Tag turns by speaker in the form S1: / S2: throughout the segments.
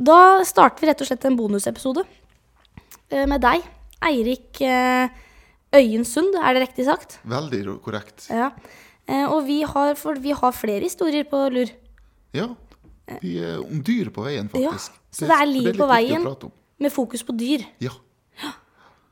S1: Da starter vi rett og slett en bonusepisode eh, med deg, Eirik eh, Øyensund, er det riktig sagt?
S2: Veldig ro- korrekt.
S1: Ja. Eh, Og vi har, for vi har flere historier på lur.
S2: Ja. Vi er om dyr på veien,
S1: Ja,
S2: faktisk.
S1: så det er liv
S2: litt
S1: på
S2: viktig
S1: veien.
S2: å prate om.
S1: Med fokus på dyr.
S2: Ja.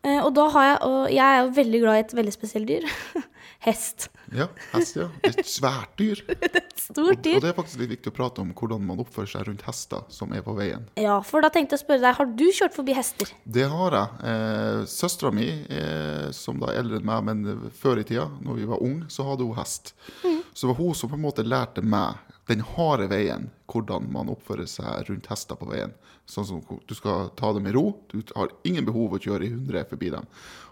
S1: Eh, Og da har jeg Og jeg er jo veldig glad i et veldig spesielt dyr. Hest.
S2: ja. Hest, ja. Det er et svært dyr.
S1: Stort
S2: Og
S1: dyr.
S2: det er faktisk litt viktig å prate om hvordan man oppfører seg rundt hester som er på veien.
S1: Ja, for da tenkte jeg å spørre deg, har du kjørt forbi hester?
S2: Det har jeg. Eh, Søstera mi, eh, som da er eldre enn meg, men før i tida, når vi var unge, så hadde hun hest. Så det var hun som på en måte lærte meg den harde veien, hvordan man oppfører seg rundt hester på veien. Sånn som hvor- Du skal ta det med ro, du har ingen behov å kjøre i 100 forbi dem.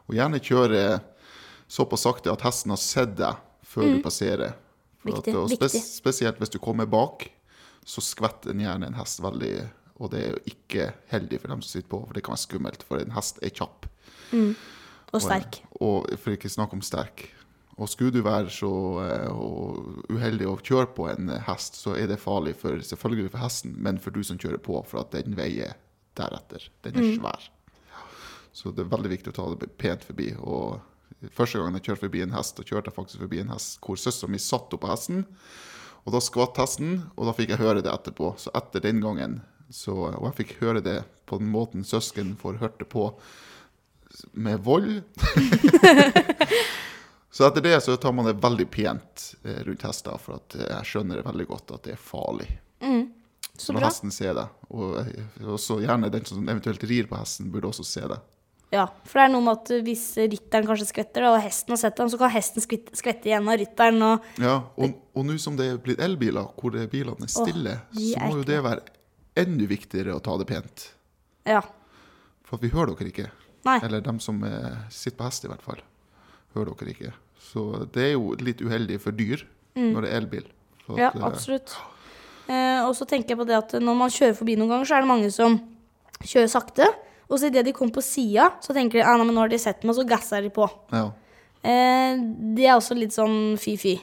S2: Og gjerne kjøre såpass sakte at hesten har sett deg før du passerer. For
S1: Mm. Viktig,
S2: og
S1: viktig.
S2: spesielt hvis du kommer bak, så skvetter den gjerne en hest veldig. Og det er jo ikke heldig for dem som sitter på, for det kan være skummelt, for en hest er kjapp.
S1: Og sterk.
S2: Og for ikke snakk om sterk. Og skulle du være så eh, og uheldig å kjøre på en eh, hest, så er det farlig for, selvfølgelig for hesten, men for du som kjører på, for at den veier deretter. Den
S1: Mm.
S2: er svær. Så det er veldig viktig å ta det pent forbi. Og første gangen jeg kjørte forbi en hest, og kjørte jeg faktisk forbi en hest hvor søstera mi satt oppå hesten, og da skvatt hesten, og da fikk jeg høre det etterpå. Så etter den gangen, så, og jeg fikk høre det på den måten søsken får hørt det på, med vold. så etter det så tar man det veldig pent eh, rundt hester, for at eh, jeg skjønner det veldig godt at det er farlig.
S1: Så
S2: Når
S1: bra.
S2: hesten ser det, og, eh, og så gjerne den som eventuelt rir på hesten, burde også se det.
S1: Ja, for det er noe med at eh, hvis rytteren kanskje skvetter, da, og hesten har sett den, så kan hesten skvitt- skvette igjen av rytteren. Og
S2: Ja, og, og nå som det er blitt elbiler, hvor det- bilene er stille,
S1: de
S2: så
S1: er
S2: må jo det være enda viktigere å ta det pent.
S1: ja.
S2: For vi hører dere ikke.
S1: Nei.
S2: Eller dem som eh, sitter på hest, i hvert fall. Hører dere ikke. Så det er jo litt uheldig for dyr når det er elbil. For
S1: Mm. Ja,
S2: at, eh,
S1: absolutt. Eh, og så tenker jeg på det at når man kjører forbi noen ganger, så er det mange som kjører sakte. Og så idet de kommer på sida, så tenker de at nå har de sett meg, og så gasser de på.
S2: Ja.
S1: Eh, det er også litt sånn fy-fy.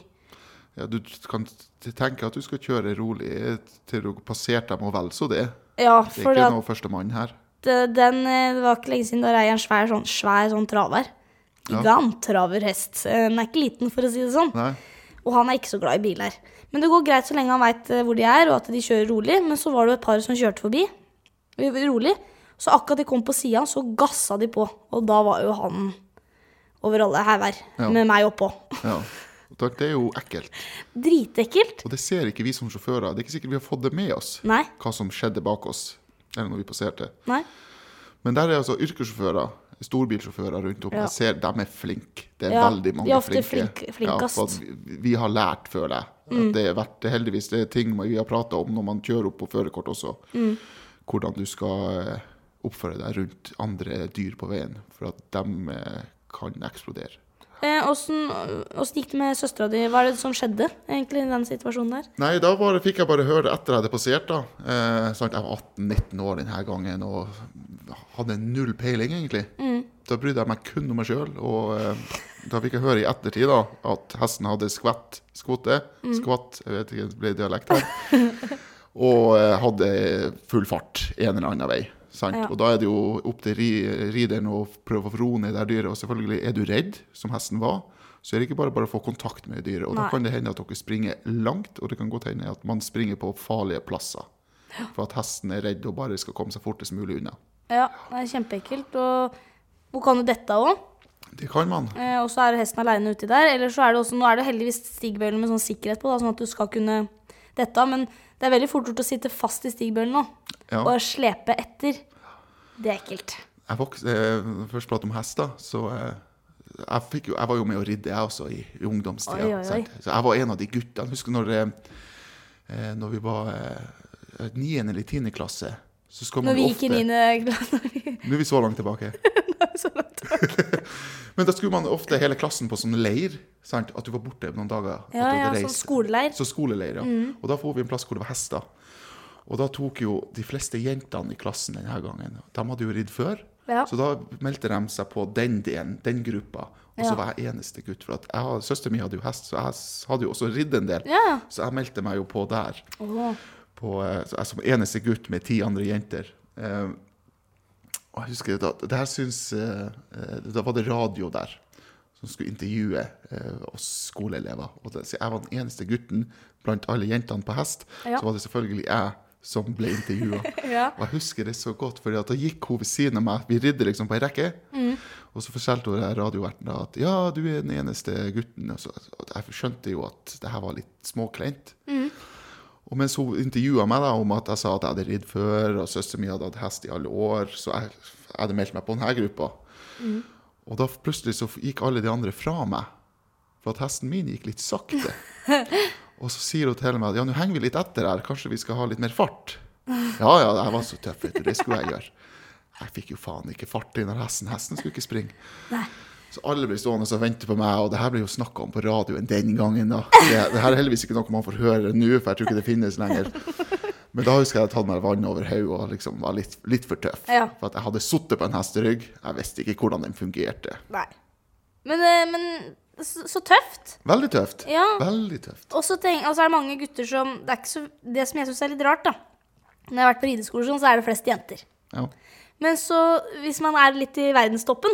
S2: ja, du kan t- tenke at du skal kjøre rolig til du har passert dem, og vel så det.
S1: Ja,
S2: Det er
S1: for
S2: ikke
S1: at,
S2: noe førstemann her.
S1: eh, den, eh, det var ikke lenge siden da rei en svær sånn, svær sånn traver.
S2: Ja.
S1: Giganttraverhest. Eh, Den er ikke liten, for å si det sånn.
S2: Nei.
S1: Og han er ikke så glad i biler. Men det går greit så lenge han veit hvor de er, og at de kjører rolig. Men så var det jo et par som kjørte forbi eh, rolig. Så akkurat de kom på sida, så gassa de på. Og da var jo han over alle hauger
S2: Ja.
S1: med meg oppå.
S2: Ja. Takk, Det er jo ekkelt.
S1: Dritekkelt.
S2: Og det ser ikke vi som sjåfører. Det er ikke sikkert vi har fått det med oss,
S1: Nei.
S2: hva som skjedde bak oss. Eller når vi passerte.
S1: Nei.
S2: Men der er altså yrkessjåfører, storbilsjåfører rundt om.
S1: Ja.
S2: Jeg ser de er flinke. Det er
S1: Ja,
S2: veldig mange
S1: de er ofte
S2: flinke.
S1: flink- Mm. flinkast.
S2: for at vi, vi har lært, føler jeg. At Det er verdt, det er heldigvis det er ting vi har prata om når man kjører opp på førerkort også.
S1: Mm.
S2: Hvordan du skal eh, oppføre deg rundt andre dyr på veien, for at de eh, kan eksplodere.
S1: Eh, Åssen åssen gikk det med søstera di? Hva er det som skjedde egentlig i den situasjonen der?
S2: Nei, da bare, fikk jeg bare høre etter jeg hadde passert, da. Eh, sant? Jeg var 18-19 år denne gangen og hadde null peiling, egentlig. Da brydde jeg meg kun om meg sjøl, og eh, da fikk jeg høre i ettertid da, at hesten hadde skvett, skvotte, skvatt, jeg vet ikke, det ble dialekt her, og eh, hadde full fart en eller annen vei. Sant?
S1: Ja.
S2: Og da er det jo opp til ri, rideren å prøve å roe ned det dyret, og selvfølgelig er du redd, som hesten var, så er det ikke bare bare å få kontakt med dyret. Og
S1: Nei.
S2: da kan det hende at dere springer langt, og det kan godt hende at man springer på farlige plasser. For at hesten er redd og bare skal komme seg fortest mulig unna.
S1: Ja, det er kjempeekkelt. Og hun kan jo dette òg.
S2: Det kan man.
S1: Eh, og så er hesten aleine uti der. Eller så er det også, nå er det heldigvis stigbøyler med sånn sikkerhet på, da, sånn at du skal kunne dette av. Men det er veldig fort gjort å sitte fast i stigbøylen nå
S2: Ja.
S1: og slepe etter. Det er ekkelt.
S2: Jeg vokste, eh, først pratet om hester, så eh, jeg, fikk jo, jeg var jo med å ridde, jeg også, i, i ungdomstida.
S1: Oi, oi, oi.
S2: sant? Så jeg var en av de guttene. Jeg Husker når, eh, eh, når vi var eh, 9. eller 10. klasse. Så skal man
S1: Når vi
S2: jo
S1: gikk i
S2: ofte-
S1: niende klasse
S2: Nå er vi så langt tilbake.
S1: så langt
S2: Men da skulle man ofte hele klassen på sånn leir. Sant? At du var borte noen dager.
S1: Ja,
S2: at du
S1: ja,
S2: hadde
S1: sånn
S2: reist.
S1: skoleleir. Mm.
S2: Så skoleleir, ja. Og da for vi en plass hvor det var hester. Og da tok jo de fleste jentene i klassen denne gangen De hadde jo ridd før.
S1: Ja.
S2: Så da meldte de seg på den delen, den gruppa. Og så
S1: Ja.
S2: var jeg eneste gutt. For at jeg, har- søsteren min hadde jo hest, så jeg s- hadde jo også ridd en del.
S1: Ja.
S2: Så jeg meldte meg jo på der.
S1: Åh.
S2: på, eh, så jeg som eneste gutt med ti andre jenter. Eh, og jeg husker da, det her syns eh, eh, Da var det radio der som skulle intervjue eh, oss skoleelever. Og det, så jeg var den eneste gutten blant alle jentene på hest.
S1: Ja.
S2: Så var det selvfølgelig jeg som ble intervjua.
S1: Ja.
S2: Og jeg husker det så godt, for da gikk hun ved siden av meg. Vi ridde liksom på ei rekke. Og så fortalte hun der radioverten da at ja, du er den eneste gutten. Og, så, og jeg skjønte jo at det her var litt småkleint. Og mens hun intervjua meg da om at jeg sa at jeg hadde ridd før, og søsteren min hadde hatt hest i alle år, så jeg, jeg hadde meldt meg på denne gruppa. Og da plutselig så gikk alle de andre fra meg, for at hesten min gikk litt sakte. Og så sier hun til meg at ja, nå henger vi litt etter her, kanskje vi skal ha litt mer fart. Ja, ja, jeg var så tøff, vet du, det skulle jeg gjøre. Jeg fikk jo faen ikke fart i den hesten, hesten skulle ikke springe. Så alle ble stående og vente på meg, og det her ble jo snakka om på radioen den gangen. da. Det, det her er heldigvis ikke noe man får høre nå, for jeg tror ikke det finnes lenger. Men da husker jeg at jeg hadde tatt meg vann over hodet og liksom var litt, litt for tøff.
S1: Ja.
S2: For at jeg hadde sittet på en hesterygg, jeg visste ikke hvordan den fungerte.
S1: Nei. Men, eh, men så, så tøft.
S2: Veldig tøft.
S1: Ja.
S2: Veldig tøft.
S1: Og så tenk- og så er det mange gutter som Det, er ikke så, det som jeg syns er litt rart, da. Når jeg har vært på rideskole, og sånn, så er det flest jenter.
S2: Ja.
S1: Men så, hvis man er litt i verdenstoppen,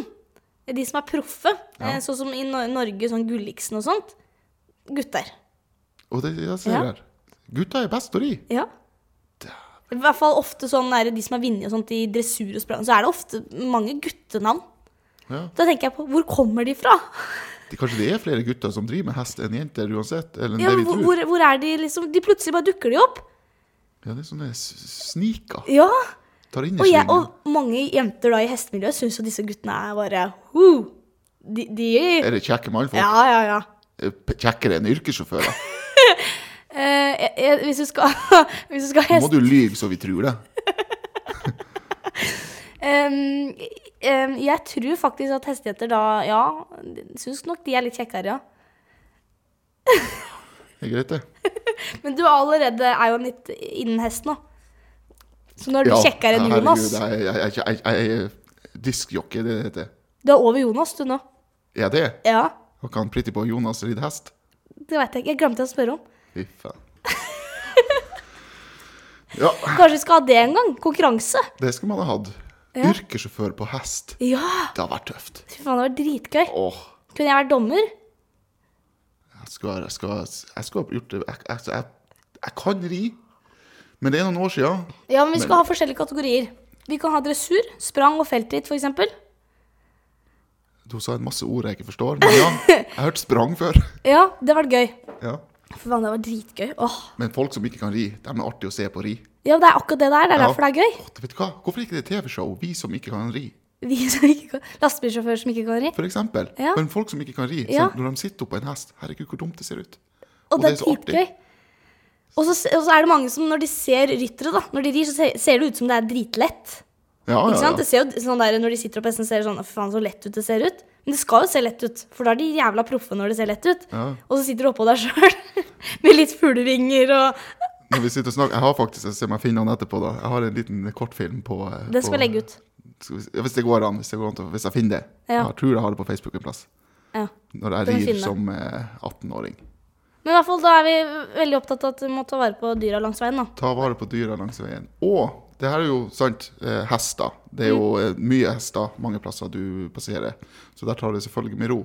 S1: de som er proffe, eh, sånn som i Nor- Norge, sånn Gulliksen og sånt, gutter.
S2: Og det jeg ser
S1: Ja.
S2: her. Gutta er best å ri.
S1: Ja. I hvert fall ofte sånn er det de som har vunnet og sånt i dressur og sprang, så er det ofte mange guttenavn.
S2: Ja.
S1: Da tenker jeg på hvor kommer de fra?
S2: Det, kanskje det er flere gutter som driver med hest enn jenter uansett? Eller enn
S1: Ja,
S2: det vi
S1: hvor,
S2: tror.
S1: hvor, hvor er de liksom De plutselig bare dukker de opp.
S2: Ja, det er sånne s- sniker.
S1: Ja.
S2: Tar inn
S1: Og,
S2: i
S1: jeg,
S2: svingen.
S1: og mange jenter da i hestemiljøet syns jo disse guttene er bare uh, de, de
S2: Er det kjekke mannfolk?
S1: Ja, ja, ja.
S2: Eh, p- Kjekkere enn yrkessjåfører?
S1: Eh, jeg, jeg, hvis du skal, hvis du skal ha
S2: Nå
S1: hest...
S2: Må du lyge så vi tror det?
S1: Ehm, ehm, jeg tror faktisk at hestejenter da, ja, syns nok de er litt kjekkere, ja.
S2: Det er greit, det.
S1: Men du allerede er jo litt innen hest nå. Så nå er du kjekkere enn Jonas.
S2: herregud, Jeg, jeg, jeg, jeg, jeg, jeg diskjockey, det det heter.
S1: Du er over Jonas, du nå.
S2: Er det?
S1: Ja,
S2: Og kan Pretty Boy Jonas ride hest?
S1: det veit jeg ikke. Jeg glemte å spørre om.
S2: Fy faen. Ja,
S1: Kanskje vi skal ha det en gang? Konkurranse.
S2: det skulle man ha hatt.
S1: Ja.
S2: Yrkessjåfør på hest.
S1: Ja!
S2: Det har vært tøft.
S1: Fy faen, det var dritgøy.
S2: Åh,
S1: Kunne jeg vært dommer?
S2: jeg skulle, ha- jeg skulle, ha- jeg skulle ha gjort det. Jeg, jeg, jeg, jeg kan ri, men det er noen år siden.
S1: Ja, men vi skal ha forskjellige kategorier. Vi kan ha dressur, sprang og feltritt, for eksempel
S2: Du sa en masse ord jeg ikke forstår, men ja, jeg har hørt sprang før.
S1: Ja, det hadde vært gøy.
S2: Ja.
S1: Fy faen, det var dritgøy. Åh.
S2: Men folk som ikke kan ri, de er artig å se på ri.
S1: Ja, det er akkurat det det er. Det er
S2: Ja.
S1: derfor det er gøy.
S2: Åh, vet du hva? Hvorfor ikke det er TV-show, vi som ikke kan ri?
S1: Vi som ikke kan, lastebilsjåfører som ikke kan ri.
S2: For eksempel.
S1: Ja.
S2: Men folk som ikke kan ri,
S1: Ja.
S2: så når de sitter oppå en hest, herregud hvor dumt det ser ut.
S1: Og,
S2: Og
S1: det
S2: det
S1: er
S2: er så artig.
S1: dritgøy. Og så, og så er det mange som når de ser ryttere, da, når de rir, så ser, ser det ut som det er dritlett.
S2: Ja,
S1: Ikke
S2: ja,
S1: sant? Det
S2: ja.
S1: ser jo sånn der, Når de sitter opp på hesten, ser det sånn «Å, Fy faen, så lett ut det ser ut. Men det skal jo se lett ut, for da er de jævla proffe når det ser lett ut.
S2: Ja.
S1: Og så sitter du oppå deg sjøl med litt fuglevinger og
S2: Når vi sitter og snakker, jeg har faktisk, jeg ser meg finne den etterpå da, jeg har en liten kortfilm på... eh,
S1: Det skal
S2: på-
S1: jeg legge ut.
S2: Skal vi se- ja, Hvis det går an, hvis, det går an, til- hvis jeg finner det.
S1: Ja.
S2: Jeg tror jeg har det på Facebook en plass.
S1: Ja.
S2: Når
S1: Du må
S2: jeg rir
S1: finne.
S2: som eh, 18-åring.
S1: Men i hvert fall da er vi veldig opptatt av at vi må ta vare på dyra langs veien. da.
S2: Ta vare på dyra langs veien. Og det her er jo sant, eh, hester. Det er jo eh, mye hester mange plasser du passerer, så der tar det selvfølgelig med ro.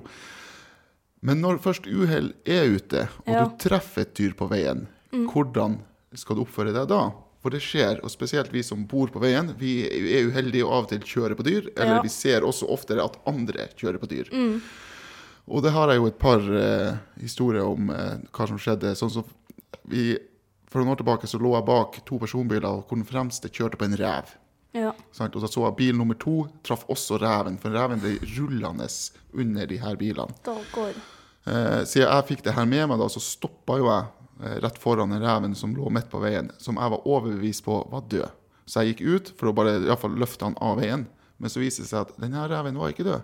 S2: Men når først uhell er ute, og
S1: Ja.
S2: du treffer et dyr på veien, hvordan skal du oppføre deg da? For det skjer, og spesielt vi som bor på veien, vi er uheldige og av og til kjører på dyr. Eller
S1: Ja.
S2: vi ser også oftere at andre kjører på dyr. Og det har jeg jo et par eh, historier om eh, hva som skjedde. Sånn som vi, For noen år tilbake så lå jeg bak to personbiler, og hvor den fremste kjørte på en rev.
S1: Ja.
S2: Sant? Og da så jeg bil nummer to traff også reven, for reven ble rullende under de her bilene.
S1: Da går.
S2: Eh, siden jeg fikk det her med meg, da, så stoppa jo jeg eh, rett foran en reven som lå midt på veien, som jeg var overbevist på var død. Så jeg gikk ut for å bare i hvert fall løfte han av veien. Men så viste det seg at denne reven var ikke død.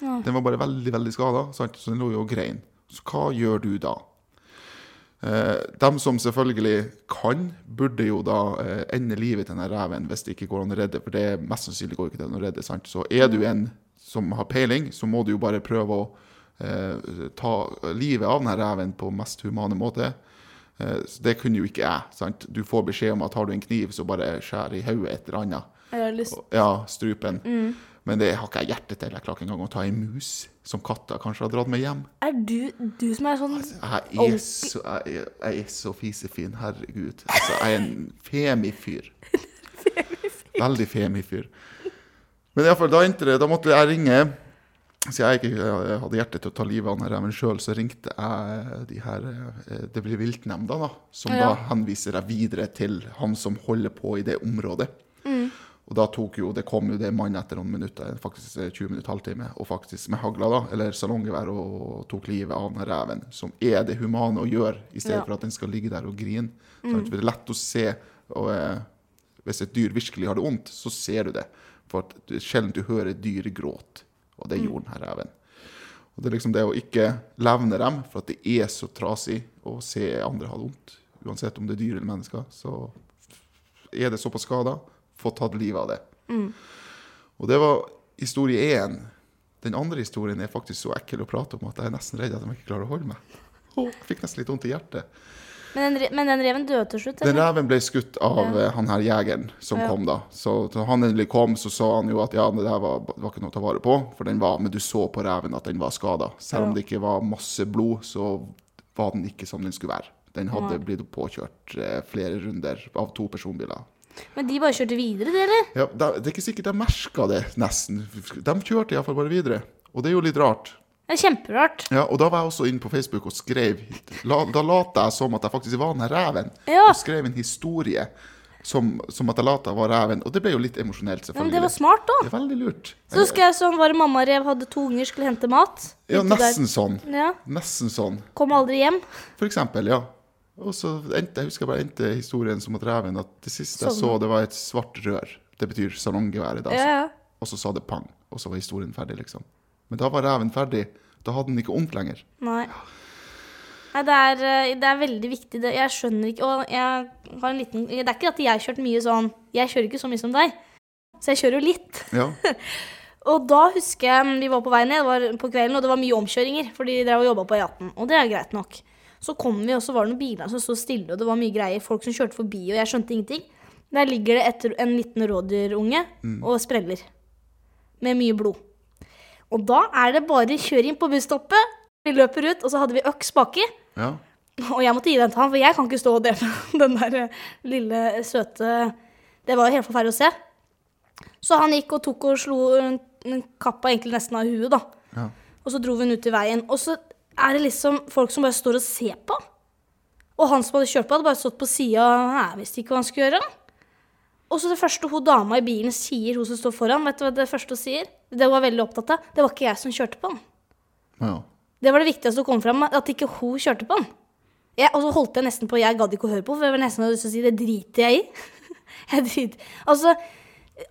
S1: Ja.
S2: Den var bare veldig veldig skada, så den lå jo og grein. Så hva gjør du da? Eh, dem som selvfølgelig kan, burde jo da eh, ende livet til denne reven hvis det ikke går an å redde, for det er mest sannsynlig går ikke det an å redde. sant? Så er du en som har peiling, så må du jo bare prøve å eh, ta livet av denne reven på mest humane måte. Eh, Så det kunne jo ikke jeg. sant? Du får beskjed om at har du en kniv, så bare skjær i hodet et eller annet.
S1: Jeg har lyst
S2: Ja, strupen. Men det har ikke jeg hjerte til. Jeg klarer ikke engang å ta en mus som katta kanskje har dratt med hjem.
S1: Er du, du som er sånn
S2: Jeg er så, Ah, jeg, er- jeg er så fisefin, herregud. Altså, jeg er en femifyr. Veldig femifyr. Men iallfall, da endte det. Da måtte jeg ringe. Så jeg ikke eh, hadde hjerte til å ta livet av han her, men sjøl så ringte jeg eh, de her eh, Det blir viltnemnda, da. Som
S1: Ja.
S2: da henviser deg videre til han som holder på i det området. Og da tok jo Det kom jo det mann etter noen minutter, faktisk eh, 20 minutter, halvtime, og faktisk med hagla, da, eller salonggevær, og tok livet av den reven. Som er det humane å gjøre, i stedet
S1: Ja.
S2: for at den skal ligge der og grine. sant? For det er lett å se og, eh, Hvis et dyr virkelig har det vondt, så ser du det. For at det er sjelden du hører dyr gråte, og det gjorde den her reven. Og det er liksom det å ikke levne dem, for at det er så trasig å se andre ha det vondt. Uansett om det er dyr eller mennesker, så er det såpass skada, få tatt livet av det.
S1: Mm.
S2: Og det var historie én. Den andre historien er faktisk så ekkel å prate om at jeg er nesten redd at de ikke klarer å holde meg. Å, Jeg fikk nesten litt vondt i hjertet.
S1: men den, re- men den reven døde til slutt,
S2: Den
S1: eller?
S2: reven ble skutt av eh, han her jegeren som
S1: Ja.
S2: kom, da. Så da han endelig kom, så sa han jo at ja, det der var, var ikke noe å ta vare på, for den var Men du så på reven at den var skada. Selv
S1: Ja.
S2: om det ikke var masse blod, så var den ikke som den skulle være. Den hadde blitt påkjørt eh, flere runder av to personbiler.
S1: Men de bare kjørte videre, de, eller?
S2: Ja, da- det er ikke sikkert de merka det, nesten. De kjørte iallfall bare videre. Og det er jo litt rart.
S1: Det er kjemperart.
S2: Ja, og da var jeg også inne på Facebook og skrev la, Da lot jeg som at jeg faktisk var den her reven.
S1: Ja.
S2: Og skrev en historie som, som at jeg lot jeg var reven. Og det ble jo litt emosjonelt,
S1: Ja, men det
S2: selvfølgelig.
S1: var smart, da.
S2: Det er veldig lurt.
S1: Så husker jeg sånn var det mamma rev hadde to unger, skulle hente mat.
S2: Ja,
S1: Ute der.
S2: nesten sånn.
S1: Ja,
S2: Nesten sånn.
S1: Kom aldri hjem.
S2: For eksempel, ja. Og så endte, jeg husker jeg bare endte historien som at reven at det siste jeg
S1: Sånn.
S2: så, det var et svart rør. Det betyr salonggeværet, da.
S1: Ja, ja.
S2: Og så sa det pang, og så var historien ferdig, liksom. Men da var reven ferdig. Da hadde den ikke vondt lenger.
S1: Nei. Nei, det er, eh, det er veldig viktig. Det, jeg skjønner ikke Og jeg har en liten Det er ikke at jeg har kjørt mye sånn Jeg kjører ikke så mye som deg. Så jeg kjører jo litt.
S2: Ja,
S1: Og da husker jeg mm, vi var på vei ned, det var på kvelden, og det var mye omkjøringer. For de drev og jobba på E18, og det er greit nok. Så kom vi, og så var det noen biler som sto stille, og det var mye greier. Folk som kjørte forbi, og jeg skjønte ingenting. Der ligger det et, en liten rådyrunge og spreller. Med mye blod. Og da er det bare kjør inn på busstoppet. Vi løper ut, og så hadde vi øks baki.
S2: ja.
S1: Og jeg måtte gi den til han, for jeg kan ikke stå og dele den der eh, lille eh, søte Det var jo helt forferdelig å se. Så han gikk og tok og slo eh, kappa egentlig nesten av huet, da.
S2: ja.
S1: Og så dro vi den ut i veien. Og så er det liksom folk som bare står og ser på. Og han som hadde kjørt på, hadde bare stått på sida og visste ikke hva han skulle gjøre. Og så det første hun dama i bilen sier, hun som står foran, vet du hva det første hun sier? Det hun var veldig opptatt av. Det var ikke jeg som kjørte på han.
S2: ja.
S1: Det var det viktigste å komme fram med, at ikke hun kjørte på den. Jeg, og så holdt jeg nesten på, jeg gadd ikke å høre på, for jeg var nesten hadde lyst til å si det driter jeg i. jeg driter. Altså,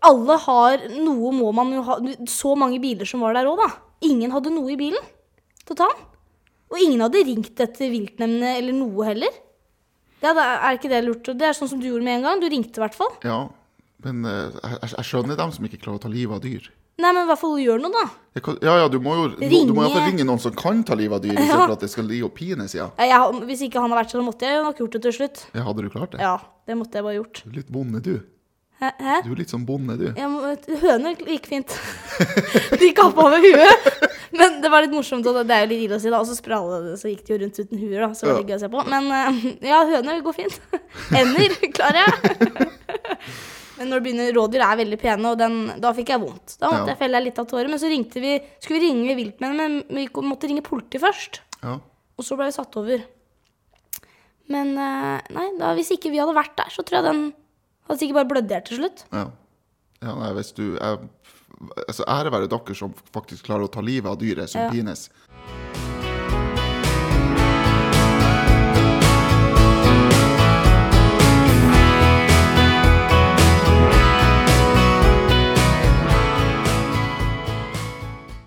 S1: alle har noe må man jo ha Så mange biler som var der òg, da. Ingen hadde noe i bilen til å ta den. Og ingen hadde ringt etter viltnemndene eller noe heller. Ja, da er ikke det lurt? Det er sånn som du gjorde med en gang. Du ringte i hvert fall.
S2: ja. Men eh, jeg, jeg skjønner dem som ikke klarer å ta livet av dyr.
S1: Nei, men i hvert fall gjør noe, da.
S2: Jeg kan- Ja, ja, du må jo ringe. Du må iallfall ringe noen som kan ta livet av dyr,
S1: Ja.
S2: istedenfor at det skal ligge og pines, ja.
S1: Ja, Jeg, hvis ikke han hadde vært sånn, måtte jeg jo nok gjort det til slutt.
S2: ja. Hadde du klart det?
S1: Ja, det måtte jeg bare gjort.
S2: Du er litt bonde, du.
S1: Hæ? Hæ?
S2: Du er litt sånn bonde, du.
S1: Jeg må, høner gikk fint. De kappa over huet. Men det var litt morsomt, og det- det er jo litt ille å si, da. Og så spralla det, så gikk de jo rundt uten huer, da. Så det var litt gøy å se på. Men eh, ja, høner går fint. Ender klarer jeg. Men når det begynner, rådyr er veldig pene, og den, da fikk jeg vondt. Da måtte
S2: Ja.
S1: jeg felle litt av tårer. Men så ringte vi, skulle vi ringe viltmennene, men vi kom- måtte ringe politiet først.
S2: Ja.
S1: Og så ble vi satt over. Men eh, nei, da, hvis ikke vi hadde vært der, så tror jeg den hadde sikkert bare blødd i hjel til slutt.
S2: ja. ja nei, hvis du jeg, altså, Ære være dere som faktisk klarer å ta livet av dyret som
S1: Ja.
S2: pines.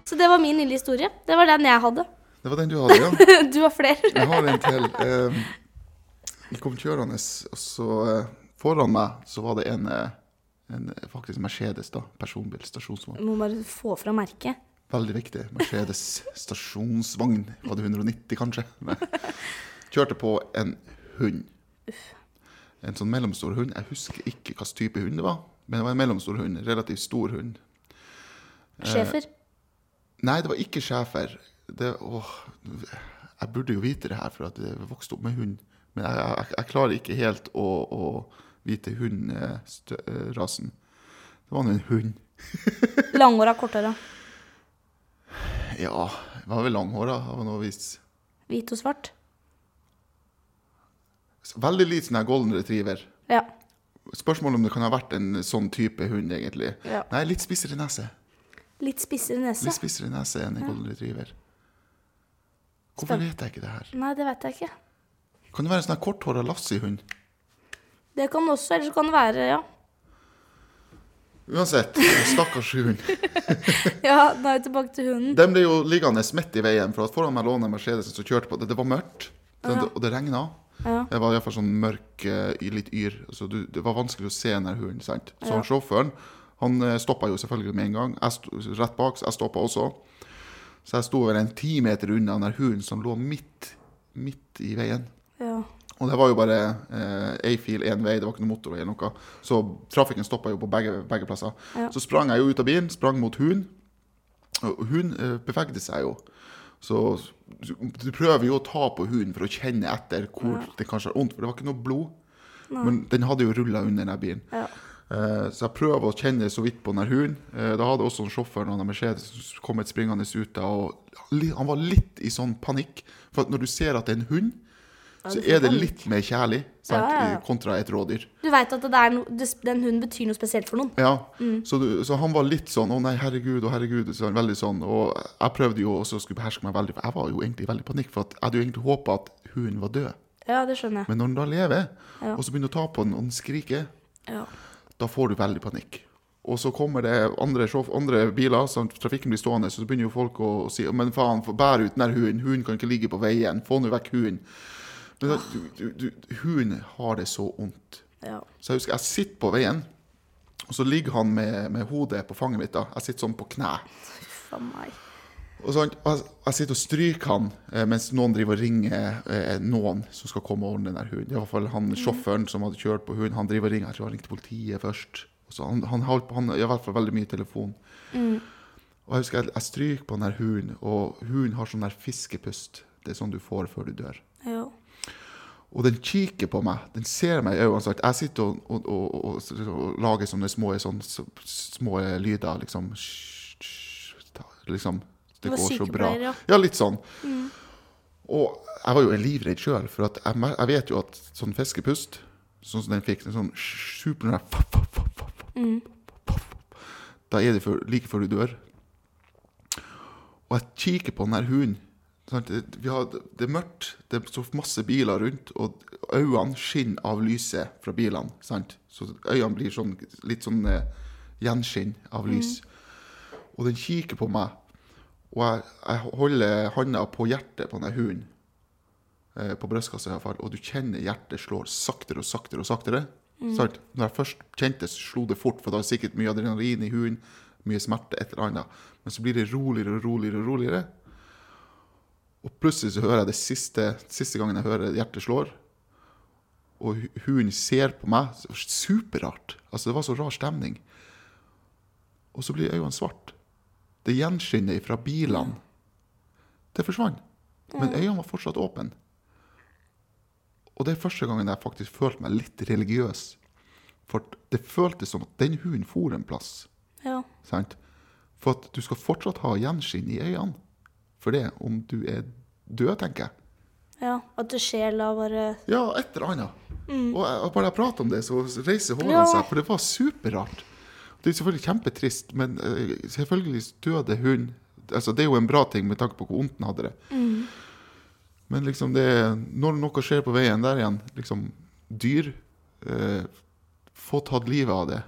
S1: Så det var min lille historie. Det var den jeg hadde.
S2: Det var den du hadde, ja?
S1: Du har flere.
S2: Jeg har en til. Eh, Jeg kom kjørende, og så eh, foran meg så var det en, eh, en eh, faktisk Mercedes, da. Personbil, stasjonsvogn.
S1: Jeg må bare få fra merket.
S2: Veldig viktig. Mercedes stasjonsvogn. Var det 190, kanskje? Nei. Kjørte på en hund. En sånn mellomstor hund. Jeg husker ikke hvilken type hund det var, men det var en mellomstor hund. Relativt stor hund.
S1: Schæfer.
S2: Nei, det var ikke schæfer. Det, åh, jeg burde jo vite det her, for at jeg vokste opp med hund. Men jeg, jeg, jeg klarer ikke helt å, å vite hundrasen. Det var nå en hund.
S1: Langhåra, korthåra.
S2: Ja, det var vel langhåra av noe vis.
S1: Hvit og svart.
S2: Veldig lik sånn her golden retriever.
S1: Ja.
S2: Spørsmålet om det kan ha vært en sånn type hund, egentlig.
S1: Ja.
S2: Nei, litt spissere nese.
S1: Litt spissere nese.
S2: Litt spissere nese enn en golden retriever. Hvorfor vet jeg ikke det her?
S1: Nei, det vet jeg ikke.
S2: Kan det være en sånn her korthåra Lassie-hund?
S1: Det kan også, eller så kan det være, ja.
S2: Uansett, stakkars hund.
S1: Ja, da er vi tilbake til hunden.
S2: Den ble jo liggende midt i veien, for at foran meg lå den Mercedesen som kjørte på. Det, det var mørkt, den, og det regna.
S1: Ja.
S2: Det var iallfall sånn mørk, eh, i litt yr. Så du, det var vanskelig å se den her hunden. sant? Så han sjåføren han stoppa jo selvfølgelig med en gang. Jeg sto rett bak, så jeg stoppa også. Så jeg sto vel en ti meter unna den her hunden som lå midt, midt i veien.
S1: Ja.
S2: Og det var jo bare én fil én vei, det var ikke noe motorvei eller noe. Så trafikken stoppa jo på begge, begge plasser.
S1: Ja.
S2: Så sprang jeg jo ut av bilen, sprang mot hunden. Og hunden eh, bevegde seg jo. Så du du prøver jo å ta på hunden for å kjenne etter hvor det kanskje har vondt, for det var ikke noe blod. Men den hadde jo rulla under den her bilen.
S1: Ja.
S2: Eh, Så jeg prøver å kjenne så vidt på den her hunden. Eh, Da hadde også en sjåføren og en Mercedes som kom et springende ut der, og li- han var litt i sånn panikk. For at når du ser at det er en hund, så
S1: du får
S2: er det
S1: panikk.
S2: litt mer kjærlig sant?
S1: Ja, ja, ja.
S2: kontra et rådyr.
S1: Du veit at det er no, det, den hunden betyr noe spesielt for noen.
S2: Ja, så, du, så han var litt sånn 'Å nei, herregud, å herregud'. Så han veldig sånn. Og jeg prøvde jo også å skulle beherske meg veldig, for jeg var jo egentlig i veldig panikk. For at jeg hadde jo egentlig håpa at hunden var død.
S1: Ja, det skjønner jeg.
S2: Men når den da lever,
S1: Ja.
S2: og så begynner du å ta på den, og den skriker,
S1: Ja.
S2: da får du veldig panikk. Og så kommer det andre, sjåf- andre biler, så trafikken blir stående, så begynner jo folk å si «Å, 'Men faen, få- bær ut den der hunden. Hunden kan ikke ligge på veien. Få nå vekk hunden.' Men da, du, du, du, hunden har det så vondt.
S1: Ja.
S2: Så jeg husker jeg sitter på veien, og så ligger han med, med hodet på fanget mitt. da. Jeg sitter sånn på kne.
S1: Faen meg.
S2: Og sånn, og jeg, jeg sitter og stryker han eh, mens noen driver og ringer eh, noen som skal komme og ordne den der hunden. I hvert fall han sjåføren som hadde kjørt på hunden, han driver og ringer. Jeg tror han ringte politiet først. Og så han, han holdt på, han i hvert fall veldig mye i telefon.
S1: Mm.
S2: Og jeg husker jeg, jeg stryker på den der hunden, og hunden har sånn der fiskepust. Det er sånn du får før du dør.
S1: Ja.
S2: Og den kikker på meg. Den ser meg i øynene. sant? Jeg sitter og, og, og, og, og lager sånne små, sånn, så- små lyder, liksom. Sh- sh- ta- liksom.
S1: Du
S2: Det
S1: var
S2: går så bra.
S1: sykepleier, ja.
S2: Ja, litt sånn. Og jeg var jo livredd sjøl, for at jeg, mer- jeg vet jo at sånn fiskepust, sånn som den fikk, en sånn super
S1: Mm.
S2: Da er det før- like før du dør. Og jeg kikker på den her hunden. sant? Det- Vi har, det er mørkt, det står masse biler rundt, og øynene skinner av lyset fra bilene. Sant? Så øynene blir sånn, litt sånn eh, gjenskinn av lys. Og den kikker på meg, og jeg, jeg holder handa på hjertet på denne hunden. Eh, på brystkassa i hvert fall. Og du kjenner hjertet slår saktere og saktere og saktere. Sant? Når jeg først kjente det, så slo det fort, for da er det sikkert mye adrenalin i hunden, mye smerte, et eller annet. Men så blir det roligere og roligere og roligere. Og plutselig så hører jeg det siste, siste gangen jeg hører hjertet slår. Og hu- hunden ser på meg. Det var Superrart. Altså, det var så rar stemning. Og så blir øynene svart. Det gjenskinner fra bilene. Det forsvant. Men øynene var fortsatt åpne. Og det er første gangen jeg faktisk følte meg litt religiøs. For det føltes som at den hunden for en plass.
S1: ja.
S2: Sant? For at du skal fortsatt ha gjenskinn i øynene. For det, om du er død, tenker jeg.
S1: Ja. At sjela bare
S2: Ja, et eller annet.
S1: Mm.
S2: Og jeg, og bare jeg prater om det, så reiser hårene
S1: Ja.
S2: seg, for det var superrart. Det er selvfølgelig kjempetrist, men eh, selvfølgelig døde hun. Altså, det er jo en bra ting med tanke på hvor vondt den hadde det.
S1: Mm.
S2: Men liksom det når noe skjer på veien der igjen, liksom dyr eh, Få tatt livet av det,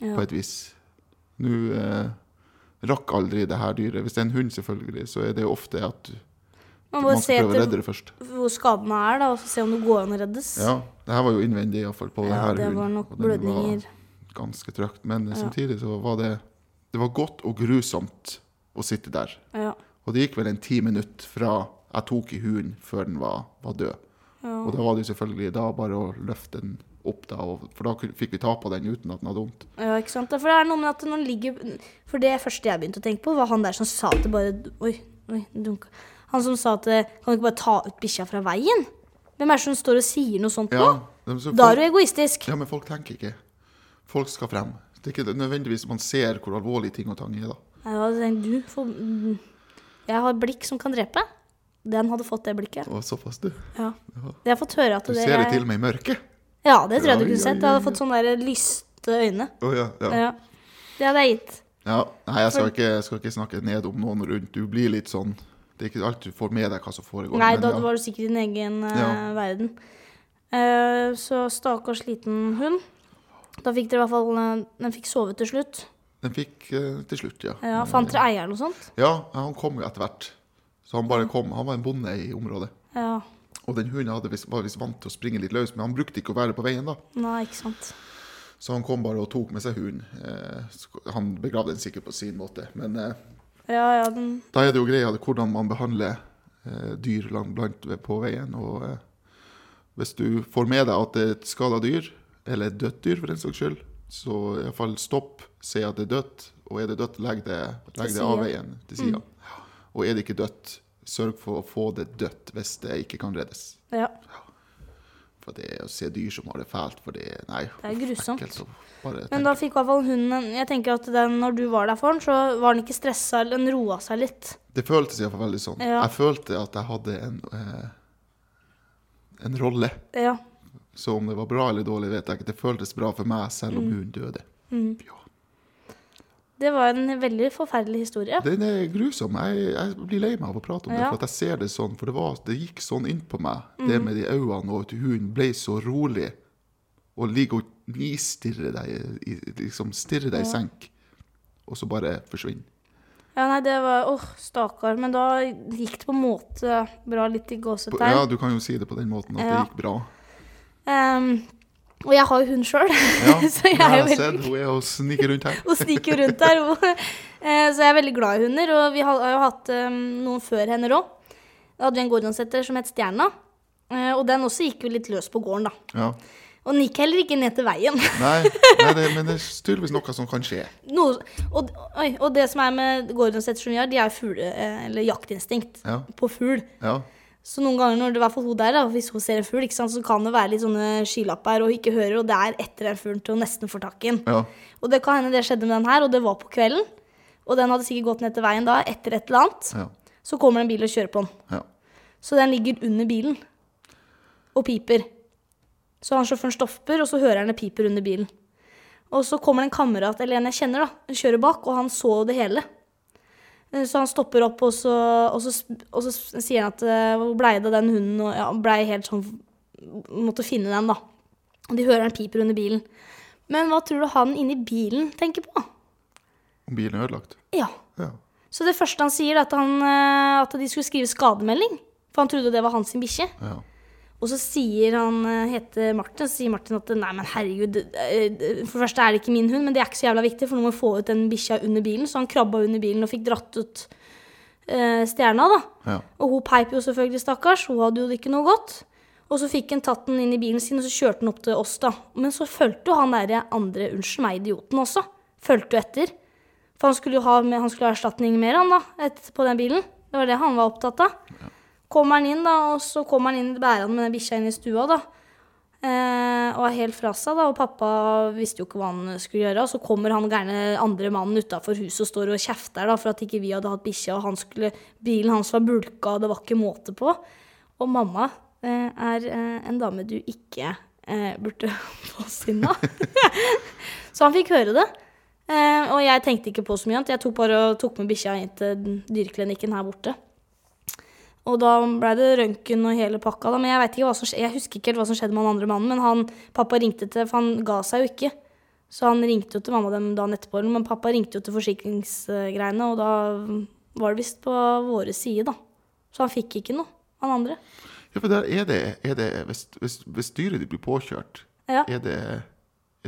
S1: Ja.
S2: på et vis. Nå eh, rakk aldri det her dyret. Hvis det er en hund, selvfølgelig, så er det jo ofte at
S1: Man må
S2: man
S1: se
S2: skal prøve å redde
S1: etter
S2: det først.
S1: hvor skadene er, da, og så se om det går an å reddes.
S2: Ja, det her var jo innvendig iallfall på
S1: Ja,
S2: denne
S1: det
S2: hunden.
S1: var nok
S2: og den var
S1: blødninger.
S2: Ganske trøkt. Men samtidig så var det Det var godt og grusomt å sitte der.
S1: Ja.
S2: Og det gikk vel en ti minutter fra jeg tok i hunden, før den var, var død. Og da var det jo selvfølgelig da bare å løfte den opp, da, og, for da kun- fikk vi ta på den uten at den hadde vondt.
S1: Ja, ikke sant? For det er noe med at når den ligger For det første jeg begynte å tenke på, var han der som sa at det bare Oi, oi, dunka. Han som sa at eh, Kan du ikke bare ta ut bikkja fra veien? Hvem er det som står og sier noe sånt
S2: Ja,
S1: nå?
S2: men så
S1: Da
S2: folk-
S1: er du egoistisk.
S2: ja, men folk tenker ikke. Folk skal frem. Det er ikke nødvendigvis man ser hvor alvorlig ting og tang er, da.
S1: Nei, da hadde jeg tenkt, du får mm, Jeg har blikk som kan drepe. Den hadde fått det blikket.
S2: Og såpass, du.
S1: Ja.
S2: Ja.
S1: Jeg har fått høre at
S2: Du
S1: det
S2: ser det til og med i mørket.
S1: Ja, det tror jeg du
S2: Oi,
S1: kunne
S2: oi,
S1: sett. Jeg
S2: oi,
S1: hadde
S2: oi.
S1: fått sånne der lyste øyne.
S2: Å ja, ja.
S1: Ja. Det hadde jeg gitt.
S2: Ja, nei, jeg skal ikke, jeg skal ikke snakke ned om noen rundt. Du blir litt sånn Det er ikke alt du får med deg hva som foregår.
S1: Nei,
S2: men
S1: da
S2: ja.
S1: var du sikkert i din egen eh,
S2: Ja.
S1: verden. Eh, så stakkars liten hund. Da fikk dere i hvert fall eh, Den fikk sove til slutt.
S2: Den fikk eh, til slutt, ja.
S1: Ja, Fant dere eieren og sånt?
S2: Ja, han kom jo etter hvert. Så han bare kom. Han var en bonde i området.
S1: Ja.
S2: Og den hunden hadde visst, var visst vant til å springe litt løs, men han brukte ikke å være på veien da.
S1: Nei, ikke sant.
S2: Så han kom bare og tok med seg hunden. Eh, sk- han begravde den sikkert på sin måte. Men eh,
S1: Ja, ja, den
S2: da er det jo greia det, hvordan man behandler eh, dyr langt blant på veien. Og eh, hvis du får med deg at det er et skada dyr, eller et dødt dyr for den saks skyld, så i hvert fall stopp, se at det er dødt, og er det dødt, legg det, legg det
S1: siden.
S2: av
S1: Mm.
S2: veien til sida. Og er det ikke dødt, sørg for å få det dødt hvis det ikke kan reddes.
S1: Ja.
S2: For det å se dyr som har det fælt, for det Nei.
S1: Det er
S2: uff,
S1: grusomt.
S2: ekkelt å bare
S1: Men
S2: tenke.
S1: da fikk i hvert fall hunden en Jeg tenker at den, når du var der for den, så var den ikke stressa, eller den roa seg litt.
S2: Det føltes iallfall veldig sånn.
S1: Ja.
S2: Jeg følte at jeg hadde en, eh, en rolle.
S1: Ja.
S2: Så om det var bra eller dårlig, vet jeg ikke. Det føltes bra for meg,
S1: Mm.
S2: selv om hun døde. Ja.
S1: Det var en veldig forferdelig historie.
S2: Den er grusom. Jeg, jeg blir lei meg av å prate om det,
S1: Ja. Mm.
S2: for at jeg ser det sånn. For det, var, det gikk sånn inn på meg, det med de øynene, og at hun ble så rolig. Og ligger og nistirrer deg, i- i- liksom stirrer deg i senk, og så bare forsvinner.
S1: Ja, nei, det var Åh, stakkar. Men da gikk det på en måte bra litt i
S2: På-
S1: gåsetegn.
S2: Ja, du kan jo si det på den måten, at det
S1: Ja.
S2: gikk bra.
S1: Ehm, og jeg har jo hund sjøl,
S2: Ja,
S1: så jeg
S2: det har
S1: er jo
S2: jeg
S1: veldig
S2: sett. Hun er og sniker rundt her.
S1: og sniker rundt der. Og, eh, så jeg er veldig glad i hunder, og vi har har jo hatt ehm, noen før henne òg. Da hadde vi en gorgonsetter som het Stjerna, eh, og den også gikk jo litt løs på gården, da.
S2: Ja.
S1: Og den gikk heller ikke ned til veien.
S2: Nei, nei det, men det er tydeligvis noe som kan skje.
S1: Noe, og, oi, og det som er med gorgonsetter som vi har, de er jo fugle... eh, eller jaktinstinkt
S2: Ja.
S1: på fugl.
S2: Ja.
S1: Så noen ganger når det i hvert fall hun der, da, hvis hun ser en fugl, ikke sant, så kan det være litt sånne skylapper og ikke hører, og det er etter den fuglen til hun nesten får tak i den.
S2: ja.
S1: Og det kan hende det skjedde med den her, og det var på kvelden. Og den hadde sikkert gått ned til veien da, etter et eller annet.
S2: ja.
S1: Så kommer det en bil og kjører på den.
S2: ja.
S1: Så den ligger under bilen og piper. Så han sjåføren stopper, og så hører han det piper under bilen. Og så kommer det en kamerat, eller en jeg kjenner, da, kjører bak, og han så det hele. Eh, Så han stopper opp, og så, og så, sp- og så s- sier han at eh, hvor blei det av den hunden? Og ja, han blei helt sånn Måtte finne den, da. Og de hører han piper under bilen. Men hva tror du han inni bilen tenker på?
S2: Om bilen er ødelagt?
S1: Ja.
S2: Ja.
S1: Så det første han sier, er at, han, eh, at de skulle skrive skademelding. For han trodde det var hans sin bikkje.
S2: ja.
S1: Og så sier han, eh, heter Martin, så sier Martin at nei, men herregud, det- eh, for det første er det ikke min hund, men det er ikke så jævla viktig, for nå må vi få ut den bikkja under bilen. Så han krabba under bilen og fikk dratt ut eh, stjerna, da.
S2: ja.
S1: Og hun peip jo selvfølgelig, stakkars, hun hadde jo det ikke noe godt. Og så fikk han tatt den inn i bilen sin, og så kjørte han opp til oss, da. Men så fulgte jo han derre andre, unnskyld meg, idioten også. Fulgte jo etter. For han skulle jo ha, med, han skulle ha erstatning mer, han da, et, på den bilen. Det var det han var opptatt av. Kommer han inn, da, og så kommer han inn bærende med den bikkja inn i stua, da. Eh, og er helt fra seg, da. Og pappa visste jo ikke hva han skulle gjøre. Og så kommer han gærne andre mannen utafor huset og står og kjefter da, for at ikke vi hadde hatt bikkja, og han skulle, bilen hans var bulka, og det var ikke måte på. Og mamma eh, er eh, en dame du ikke eh, burde få sinn av. så han fikk høre det. Eh, og jeg tenkte ikke på så mye annet. Jeg tok bare og tok med bikkja inn til dyreklinikken her borte. Og da ble det røntgen og hele pakka. Da. Men jeg, vet ikke hva som, skje- jeg husker ikke helt hva som skjedde med han andre mannen. Men han, pappa ringte til, for han ga seg jo ikke. Så han ringte jo til mamma dem dagen etterpå. Men pappa ringte jo til forsikringsgreiene, og da var det visst på våre side, da. Så han fikk ikke noe, han andre.
S2: ja, for der er det, er det hvis, hvis, hvis dyret ditt blir påkjørt,
S1: Ja.
S2: er, det,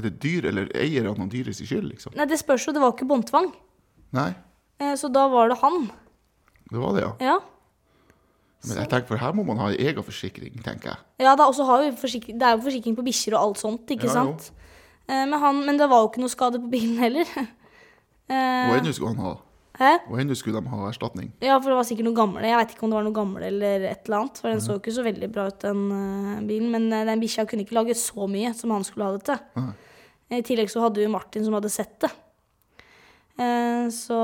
S2: er det dyr eller eierne av dyret sin skyld, liksom?
S1: Nei, det spørs jo, det var jo ikke båndtvang.
S2: Nei,
S1: Eh, Så da var det han.
S2: det var det, ja.
S1: Ja.
S2: Men jeg tenker, for her må man ha en egen forsikring, tenker jeg.
S1: Ja, da, og så har vi forsikring, det er jo forsikring på bikkjer og alt sånt, ikke
S2: Ja, jo.
S1: sant? Eh, men, han, men det var jo ikke noe skade på bilen heller. Eh,
S2: Og ennå skulle han ha
S1: hæ?
S2: Og ennå skulle de ha erstatning.
S1: Ja, for det var sikkert noe gamle. Jeg vet ikke om det var noe gamle eller et eller annet. For den
S2: Mhm.
S1: så jo ikke så veldig bra ut, den eh, bilen. Men eh, den bikkja kunne ikke lage så mye som han skulle ha det til.
S2: Nei.
S1: I tillegg så hadde jo Martin som hadde sett det. Eh, så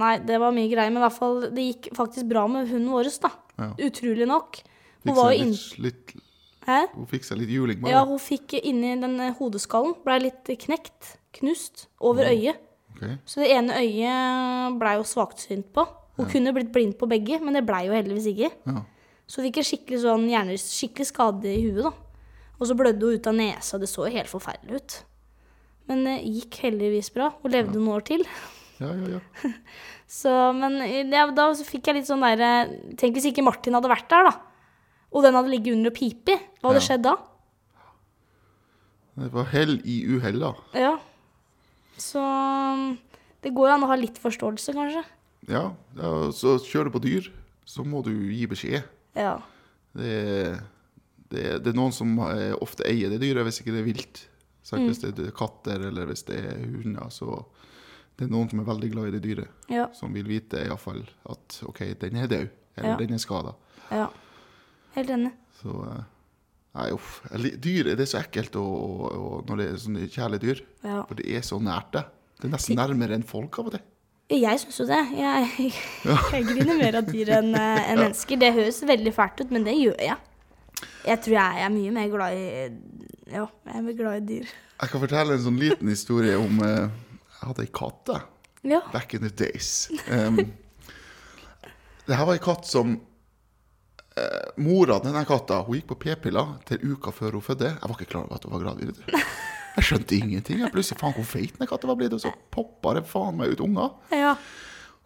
S1: nei, det var mye greier. Men i hvert fall, det gikk faktisk bra med hunden vår, da.
S2: Ja.
S1: Utrolig nok. Hun
S2: Fikk
S1: var
S2: seg
S1: jo inn...
S2: litt, litt,
S1: Hæ?
S2: hun fikk seg litt juling
S1: Ja,
S2: bare.
S1: hun fikk inni den eh, hodeskallen. Blei litt knekt. Knust. Over
S2: Mhm.
S1: øyet.
S2: Ok.
S1: Så det ene øyet blei jo svaksynt på. Hun kunne blitt blind på begge, men det blei jo heldigvis ikke.
S2: Ja.
S1: Så hun fikk en skikkelig, sånn, hjerne, skikkelig skade i huet, da. Og så blødde hun ut av nesa. Det så jo helt forferdelig ut. Men det gikk heldigvis bra. Hun levde noen år til.
S2: ja, ja, ja.
S1: Så, men eh, ja, da så fikk jeg litt sånn derre Tenk hvis ikke Martin hadde vært der, da. Og den hadde ligget under og pipi. Hva hadde
S2: Ja.
S1: skjedd da?
S2: Det var hell i uhell, da.
S1: Ja. Så det går jo an å ha litt forståelse, kanskje.
S2: Ja, ja, så kjører du på dyr, så må du gi beskjed.
S1: Ja.
S2: Det, det, det er noen som eh, ofte eier det dyret, hvis ikke det er vilt. Så Hvis det er katter eller hvis det er hunder, så det er noen som er veldig glad i det dyret.
S1: Ja.
S2: Som vil vite iallfall at OK, den er død, eller
S1: Ja.
S2: den er skada.
S1: ja. Helt enig.
S2: Så eh, Nei, uff. Jeg li- Dyr det er så ekkelt å- å- å- når det er sånne kjæledyr.
S1: Ja.
S2: For det er så nært deg. Det er nesten nærmere enn folk av og til.
S1: Jeg syns jo det. Jeg, jeg griner mer av dyr enn eh, enn mennesker. Det høres veldig fælt ut, men det gjør jeg. Jeg tror jeg er mye mer glad i Ja, jeg er mer glad i dyr.
S2: Jeg kan fortelle en sånn liten historie om eh, Jeg hadde ei katt, da.
S1: Ja.
S2: Back in the days. Um, det her var ei katt som eh, Mora til denne katta hun gikk på p-piller til uka før hun fødte. Jeg var ikke klar over at hun var gravid. vet du. Jeg skjønte ingenting. Jeg plutselig faen hvor feit den katta var blitt. Og så poppa det faen meg ut unger.
S1: Ja.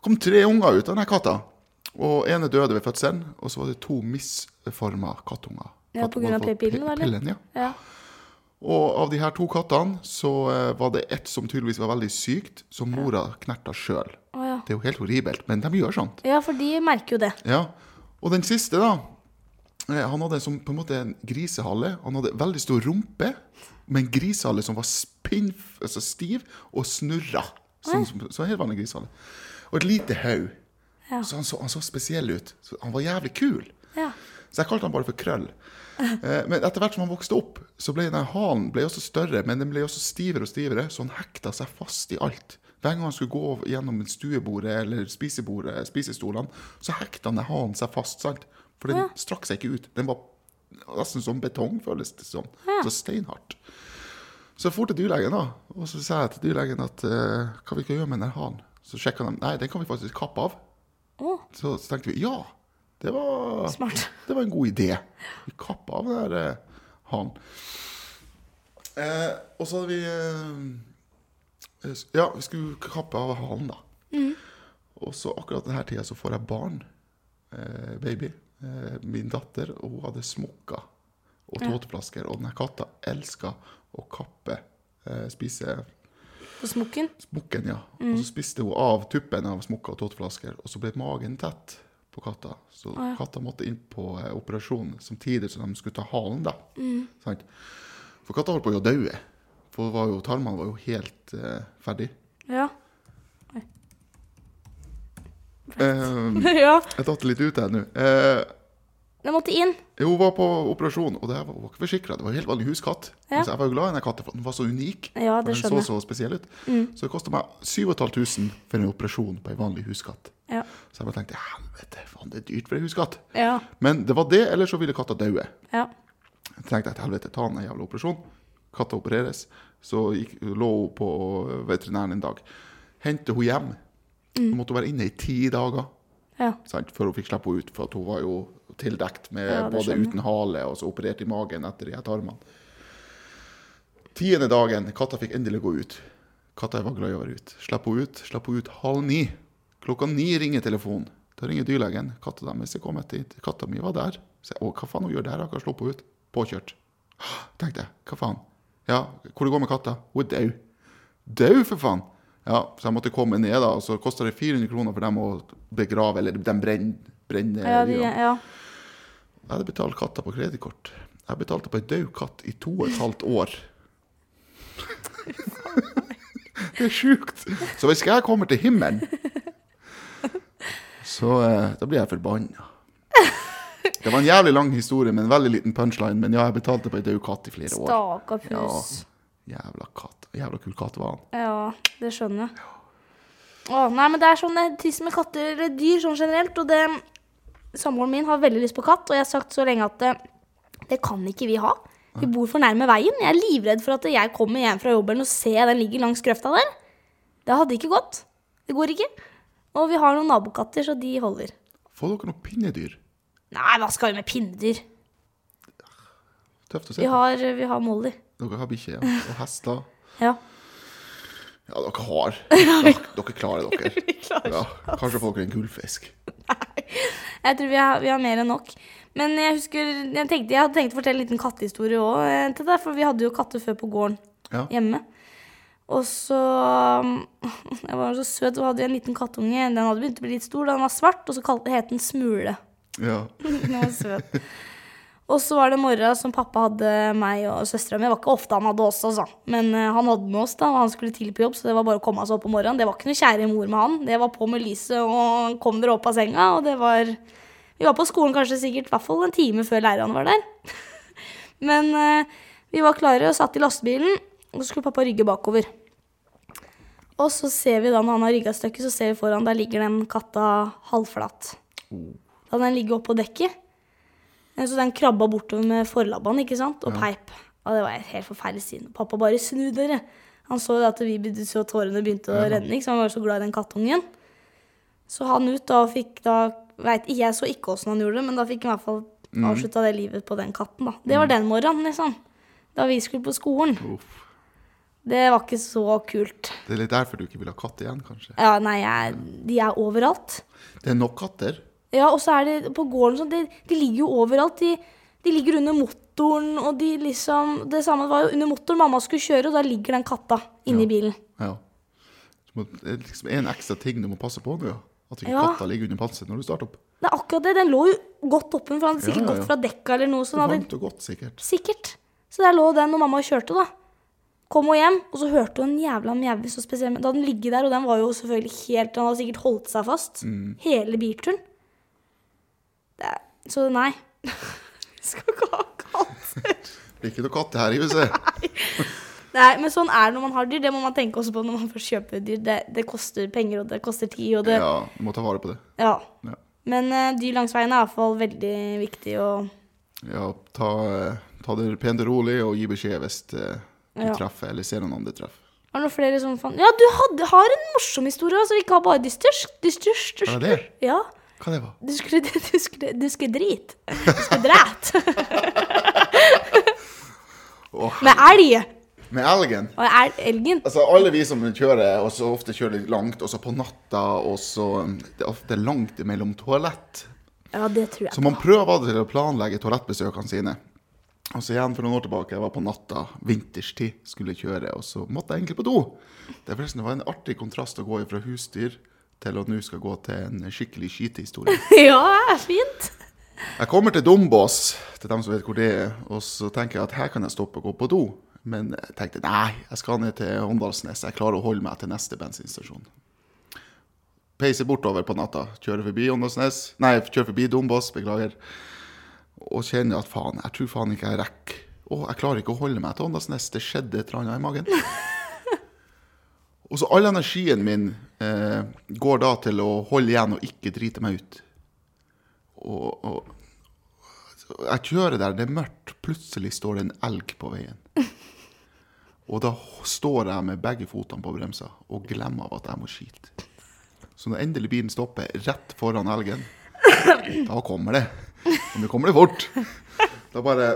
S2: kom tre unger ut av denne katta. Og ene døde ved fødselen, og så var det to misforma kattunger.
S1: Ja, på grunn av p-pillen, da, eller?
S2: Pillen, ja.
S1: ja.
S2: Og av de her to kattene så eh, var det ett som tydeligvis var veldig sykt, som mora knerta sjøl.
S1: Å ja.
S2: Det er jo helt horribelt, men de gjør sånt.
S1: Ja, for de merker jo det.
S2: Ja. Og den siste, da. eh, Han hadde som, på en måte en grisehale. Han hadde veldig stor rumpe, med en grisehale som var spinn, altså stiv og snurra. Sånn som så en helt vanlig grisehale. Og et lite hode.
S1: Ja.
S2: Så, han så han så spesiell ut. Så han var jævlig kul.
S1: Ja.
S2: Så jeg kalte han bare for Krøll. Eh, Men etter hvert som han vokste opp, så ble den halen ble også større, men den ble også stivere og stivere, så han hekta seg fast i alt. Hver gang han skulle gå gjennom stuebordet eller spisebordet, spisestolene, så hekta den halen seg fast, sant? For den strakk seg ikke ut. Den var nesten som betong, føles det som. Så steinhardt. Så jeg for til dyrlegen, da, og så sa jeg til dyrlegen at eh, hva vi kan gjøre med den halen. Så sjekka de. Nei, den kan vi faktisk kappe av.
S1: Å,
S2: Så, så tenkte vi ja, det var
S1: smart.
S2: det var en god idé. Vi kappa av den der eh, hanen. Eh, og så hadde vi eh, s- Ja, vi skulle kappe av hanen, da. Og så akkurat denne tida så får jeg barn. Eh, baby. Eh, min datter. Og hun hadde smokker og tåteflasker. Og denne katta elska å kappe, eh, spise
S1: På smokken.
S2: smokken, ja. Og så spiste hun av tuppen av smokker og tåteflasker, og så ble magen tett på katta. Så katta måtte inn på eh, operasjon samtidig som de skulle ta halen, da. Sant? For katta holdt på å dø. For det var jo, tarmene var jo helt eh, ferdig.
S1: Ja.
S2: Eh,
S1: ja.
S2: jeg datt litt ut her nå. Eh,
S1: Den måtte inn.
S2: hun var på operasjon, og det her var, hun var ikke forsikra. Det var en helt vanlig huskatt.
S1: Ja.
S2: Men Så jeg var jo glad i den katten, for den var så unik.
S1: Ja, det
S2: og den
S1: skjønner
S2: så
S1: jeg. Mm.
S2: så spesiell ut. Så det kosta meg 7500 for en operasjon på en vanlig huskatt.
S1: Ja.
S2: Så jeg bare tenkte helvete, faen, det er dyrt for en huskatt.
S1: Ja.
S2: Men det var det, eller så ville katta daue.
S1: Ja.
S2: Jeg tenkte at helvete, ta en jævla operasjon. Katta opereres. Så gikk, lå hun på eh, veterinæren en dag. Hente hun hjem.
S1: Mm.
S2: Måtte hun være inne i ti dager
S1: Ja.
S2: sant, før hun fikk slippe henne ut, for at hun var jo tildekt med
S1: Ja, det
S2: både
S1: skjønner jeg.
S2: uten hale og så operert i magen etter de her tarmene. Tiende dagen, katta fikk endelig gå ut. Katta var glad i å være ute. Slipp henne ut. Slipp henne ut halv ni. Klokka ni ringer telefonen. Da ringer dyrlegen. Katta deres er kommet hit. Katta mi var der. Så jeg, å, hva faen hun gjør der? Jeg kan slå henne ut. Påkjørt. Tenkte jeg. Hva faen? Ja, hvor det går med katta? Hun er død. Død, for faen! Ja, så jeg måtte komme ned, da. Og så kosta det 400 kroner for dem å begrave, eller de brenner brenne
S1: Ja, de,
S2: dyrene.
S1: ja.
S2: Jeg hadde betalt katta på kredittkort. Jeg betalte på ei død katt i to og et halvt år. Det er sjukt! Så hvis ikke jeg kommer til himmelen, så eh, da blir jeg forbanna. Det var en jævlig lang historie med en veldig liten punchline, men ja, jeg betalte på ei død katt i flere år.
S1: Stakkar pus.
S2: Jævla katt. Jævla kul katt var han.
S1: Ja. det skjønner jeg. Å, nei, men det er sånn det er trist med katter eller dyr sånn generelt. Og det Samboeren min har veldig lyst på katt, og jeg har sagt så lenge at det, det kan ikke vi ha. Vi bor for nærme veien. Jeg er livredd for at jeg kommer hjem fra jobben og ser den ligger langs grøfta der. Det hadde ikke gått. Det går ikke. Og vi har noen nabokatter, så de holder.
S2: Får dere noe pinnedyr?
S1: Nei, hva skal vi med pinnedyr?
S2: Tøft å se
S1: Vi
S2: på.
S1: har, vi har Molly.
S2: Dere har bikkje ja. og hester.
S1: Ja.
S2: Ja, dere har. Dere, dere klarer dere.
S1: Vi klarer
S2: Ja, kanskje får dere en gullfisk.
S1: Jeg tror vi har, vi har mer enn nok. Men jeg husker, jeg tenkte, jeg hadde tenkt å fortelle en liten kattehistorie òg til deg, for vi hadde jo katter før på gården
S2: Ja.
S1: hjemme. Og så Jeg var så søt, så hadde jeg en liten kattunge. Den hadde begynt å bli litt stor, da den var svart, og så kalte, het den Smule.
S2: Ja.
S1: Den var søt. Og så var det en morgen som pappa hadde meg og søstera mi. Det var ikke ofte han hadde oss, altså. Men eh, han hadde med oss, da, og han skulle tidlig på jobb, så det var bare å komme seg opp om morgenen. Det var ikke noe kjære mor med han. Det var på med lyset, og han kom dere opp av senga, og det var Vi var på skolen kanskje sikkert i hvert fall en time før læreren var der. Men eh, vi var klare og satt i lastebilen, og så skulle pappa rygge bakover. Og så ser vi da, når han har rygga et stykke, så ser vi foran, der ligger den katta halvflat. Da hadde den ligget oppå dekket. Eh, Så den krabba bortover med forlabbene ikke sant? og peip. Og det var et helt forferdelig syn. Pappa bare snu dere. Han så jo at vi begynte- så tårene begynte å renne, ikke sant? han var jo så glad i den kattungen. Så han ut da og fikk da vet, ikke- Jeg så ikke åssen han gjorde det, men da fikk han i hvert fall avslutta det livet på den katten. da. Det var den morgenen, liksom. Da vi skulle på skolen.
S2: Uff.
S1: Det var ikke så kult.
S2: Det er litt derfor du ikke vil ha katt igjen, kanskje.
S1: Ja, nei, jeg, de er overalt.
S2: Det er nok katter.
S1: Ja, og så er det på gården sånn, de, de ligger jo overalt. De, de ligger under motoren, og de liksom Det samme var jo under motoren mamma skulle kjøre, og da ligger den katta inni
S2: Ja.
S1: bilen.
S2: Ja. Så må- Det er liksom en ekstra ting du må passe på nå. ja. At ikke
S1: Ja.
S2: katta ligger under panseret når du starter opp.
S1: Det er akkurat det. Den lå jo godt oppe, for han hadde sikkert
S2: Ja, ja,
S1: gått
S2: ja.
S1: fra dekka eller noe. Så den hadde,
S2: Varmt og godt, sikkert.
S1: sikkert. Så der lå den når mamma kjørte, da. Kom hun hjem, og så hørte hun en jævla mjaue så spesiell. men Da hadde den ligget der, og den var jo selvfølgelig helt Den hadde sikkert holdt seg fast
S2: Mm.
S1: hele bilturen. Det, er- så nei. Vi skal ikke ha katter.
S2: Blir ikke noe katt her i huset.
S1: Nei, men sånn er det når man har dyr. Det må man tenke også på når man først kjøper dyr. Det, det koster penger, og det koster tid, og det Ja.
S2: Ja, du må ta vare på det. Ja,
S1: Men eh, dyr langs veien er i hvert fall veldig viktig og
S2: ja ta, eh, ta det pent og rolig, og gi beskjed hvis eh, du
S1: Ja.
S2: treffer, eller ser noen andre treffe.
S1: Har du noen flere sånne fan... Ja, du hadde, har en morsom historie, altså. Ikke har bare dystersk. Dystersk.
S2: Var det det?
S1: Ja.
S2: Hva det var?
S1: Du skulle, du skulle, du skulle drit. Du skulle dræt.
S2: Åh,
S1: Med elg.
S2: med elgen.
S1: Og el, elgen.
S2: Altså, alle vi som kjører, og så ofte kjører litt langt, og så på natta, og så um, Det er ofte langt mellom toalett.
S1: Ja, det tror jeg.
S2: Så man prøver av og til å planlegge toalettbesøkene sine. Og så igjen for noen år tilbake, jeg var på natta, vinterstid, skulle kjøre, og så måtte jeg egentlig på do. Det er forresten det var en artig kontrast å gå fra husdyr til å nå skal gå til en skikkelig skytehistorie.
S1: Ja, det er fint.
S2: Jeg kommer til Dombås, til dem som vet hvor det er, og så tenker jeg at her kan jeg stoppe og gå på do. Men jeg tenkte nei, jeg skal ned til Åndalsnes, jeg klarer å holde meg til neste bensinstasjon. Peiser bortover på natta, kjører forbi Åndalsnes, nei, kjører forbi Dombås, beklager. Og kjenner at faen, jeg tror faen ikke jeg rekker. Å, jeg klarer ikke å holde meg til Åndalsnes, det skjedde et eller annet i magen. Og så all energien min eh, går da til å holde igjen og ikke drite meg ut. Og, og og jeg kjører der, det er mørkt. Plutselig står det en elg på veien. Og da står jeg med begge fotene på bremsa og glemmer av at jeg må skite. Så når endelig bilen stopper rett foran elgen, da kommer det. Og nå kommer det fort. Da bare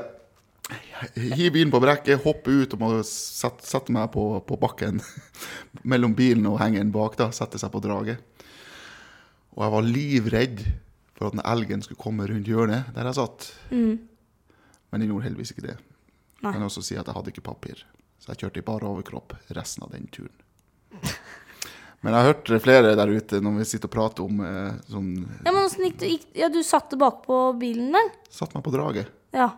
S2: hiver bilen på brekket, hopper ut og må sette, sette meg på, på bakken mellom bilen og hengeren bak. da, Sette seg på draget. Og jeg var livredd for at den elgen skulle komme rundt hjørnet der jeg satt. Men den gjorde heldigvis ikke det.
S1: Nei.
S2: Jeg kan også si at jeg hadde ikke papir, så jeg kjørte i bare overkropp resten av den turen. Men jeg har hørt flere der ute når vi sitter og prater om eh, sånn
S1: Ja, men åssen gikk det? Gikk, ja, du satt bakpå bilen der?
S2: Satt meg på draget.
S1: Ja.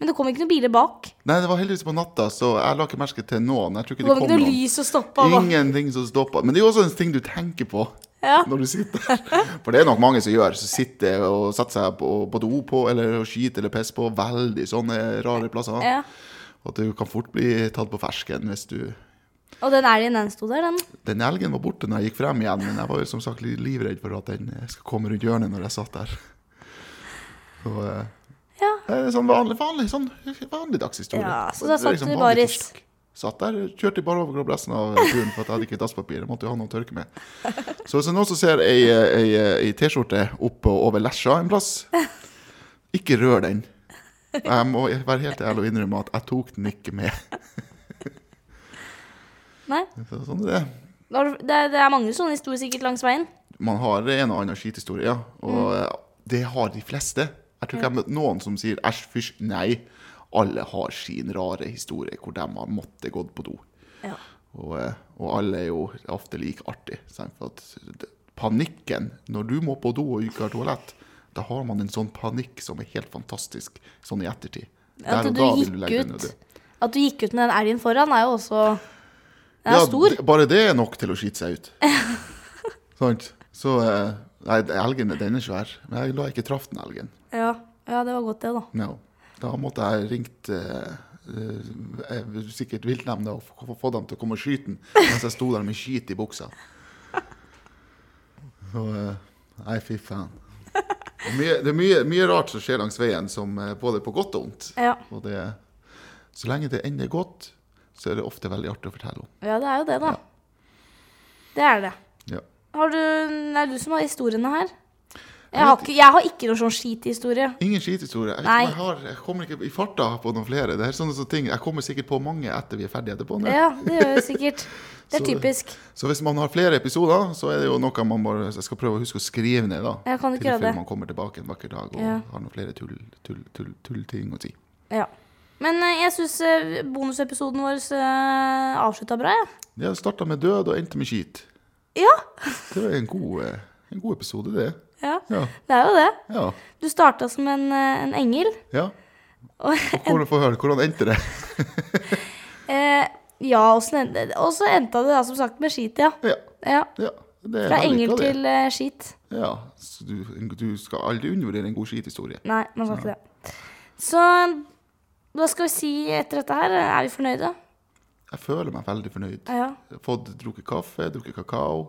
S1: Men det kom ikke noen biler bak.
S2: Nei, det var heldigvis på natta, så jeg la ikke merke til noen. Jeg
S1: Det
S2: tror ikke det,
S1: var ikke
S2: kom
S1: noe
S2: noen.
S1: lys å stoppe av. da.
S2: Ingenting som stoppa. Men det er jo også en ting du tenker på
S1: Ja.
S2: når du sitter der. For det er nok mange som gjør, som sitter og setter seg på, på do på, eller og skyter eller pisser på veldig sånne rare plasser.
S1: Ja.
S2: Og at du kan fort bli tatt på fersken hvis du
S1: Og den elgen, den sto der, den.
S2: Den elgen var borte når jeg gikk frem igjen, men jeg var jo som sagt litt livredd for at den eh, skulle komme rundt hjørnet når jeg satt der. Så eh,
S1: Ja.
S2: det er sånn vanlig, vanlig, sånn dagligdags historie.
S1: Ja, så da
S2: Det er liksom
S1: satt du
S2: vanlig
S1: baris.
S2: torsk. Satt der, kjørte bare over resten av turen for at jeg hadde ikke dasspapir. Jeg måtte jo ha noe å tørke med. Så hvis det er noen som ser ei, eh, ei, ei T-skjorte oppå over lesja en plass, ikke rør den. Jeg må være helt ærlig og innrømme at jeg tok den ikke med.
S1: Nei.
S2: Så Sånn er det.
S1: Da har du- Det er, det er mange sånne historier sikkert langs veien.
S2: man har en og annen skithistorie, ja. og
S1: Mm.
S2: eh, det har de fleste. Jeg tror ikke jeg har møtt noen som sier æsj, fysj, nei. Alle har sin rare historie hvor de har måttet gått på do.
S1: Ja.
S2: Og, eh, og alle er jo ofte like artig. sant? For at det- panikken når du må på do og ikke har toalett, da har man en sånn panikk som er helt fantastisk sånn i ettertid.
S1: At
S2: Der og
S1: du
S2: da vil
S1: gikk
S2: legge deg ned,
S1: ut.
S2: du.
S1: At du gikk ut med den elgen foran, er jo også Den er
S2: Ja,
S1: stor.
S2: d- Bare det er nok til å skite seg ut. Sant? Så eh, Nei, elgen den er svær. Men jeg la ikke traff den elgen.
S1: Ja. ja, det var godt, det, da.
S2: No. Da måtte jeg ringt eh, eh, eh, sikkert viltnemnda og få, få dem til å komme og skyte den mens jeg sto der med skit i buksa. Så eh, Nei, fy faen. Det er, mye, det er mye, mye rart som skjer langs veien, som eh, både på godt og vondt.
S1: Ja.
S2: Og det, så lenge det ender godt, så er det ofte veldig artig å fortelle om.
S1: ja, det er jo det, da. Det er det.
S2: Ja.
S1: Har du Det er du som har historiene her. Jeg
S2: vet
S1: har ikke, jeg har ikke noen sånn skithistorie.
S2: Ingen skithistorie. Jeg, vet
S1: Nei.
S2: ikke om jeg, har, jeg kommer ikke i farta på noen flere. Det er sånne, sånne ting. Jeg kommer sikkert på mange etter vi er ferdige etterpå. nå.
S1: Ja, det gjør jeg sikkert. Det er
S2: Så-
S1: typisk.
S2: Så hvis man har flere episoder, så er det jo noe man må Jeg skal prøve å huske å skrive ned, da.
S1: Jeg kan ikke gjøre det.
S2: man kommer tilbake en vakker dag og
S1: Ja.
S2: har noen flere tull- tull- tull- tullting å si.
S1: Ja. Men eh, jeg syns bonusepisoden vår eh, avslutta bra, jeg.
S2: Det starta med død og endte med skit.
S1: Ja. Ja.
S2: Det var en god, eh, en god episode, det.
S1: ja.
S2: Ja.
S1: Det er jo det.
S2: ja.
S1: Du starta som en, eh, en engel.
S2: ja. Hvordan, få høre, hvordan endte det?
S1: Eh, ja, og så endte, og så endte det da som sagt med skit, ja.
S2: Ja.
S1: ja.
S2: ja. Det er
S1: Fra
S2: vellykka,
S1: engel
S2: det.
S1: til eh, skit.
S2: Ja. Så du, du skal aldri undervurdere en god skithistorie.
S1: Nei, man skal ikke det. Så hva skal vi si etter dette her? Er vi fornøyde?
S2: Jeg føler meg veldig fornøyd.
S1: Ja.
S2: Fått drukket kaffe, drukket kakao.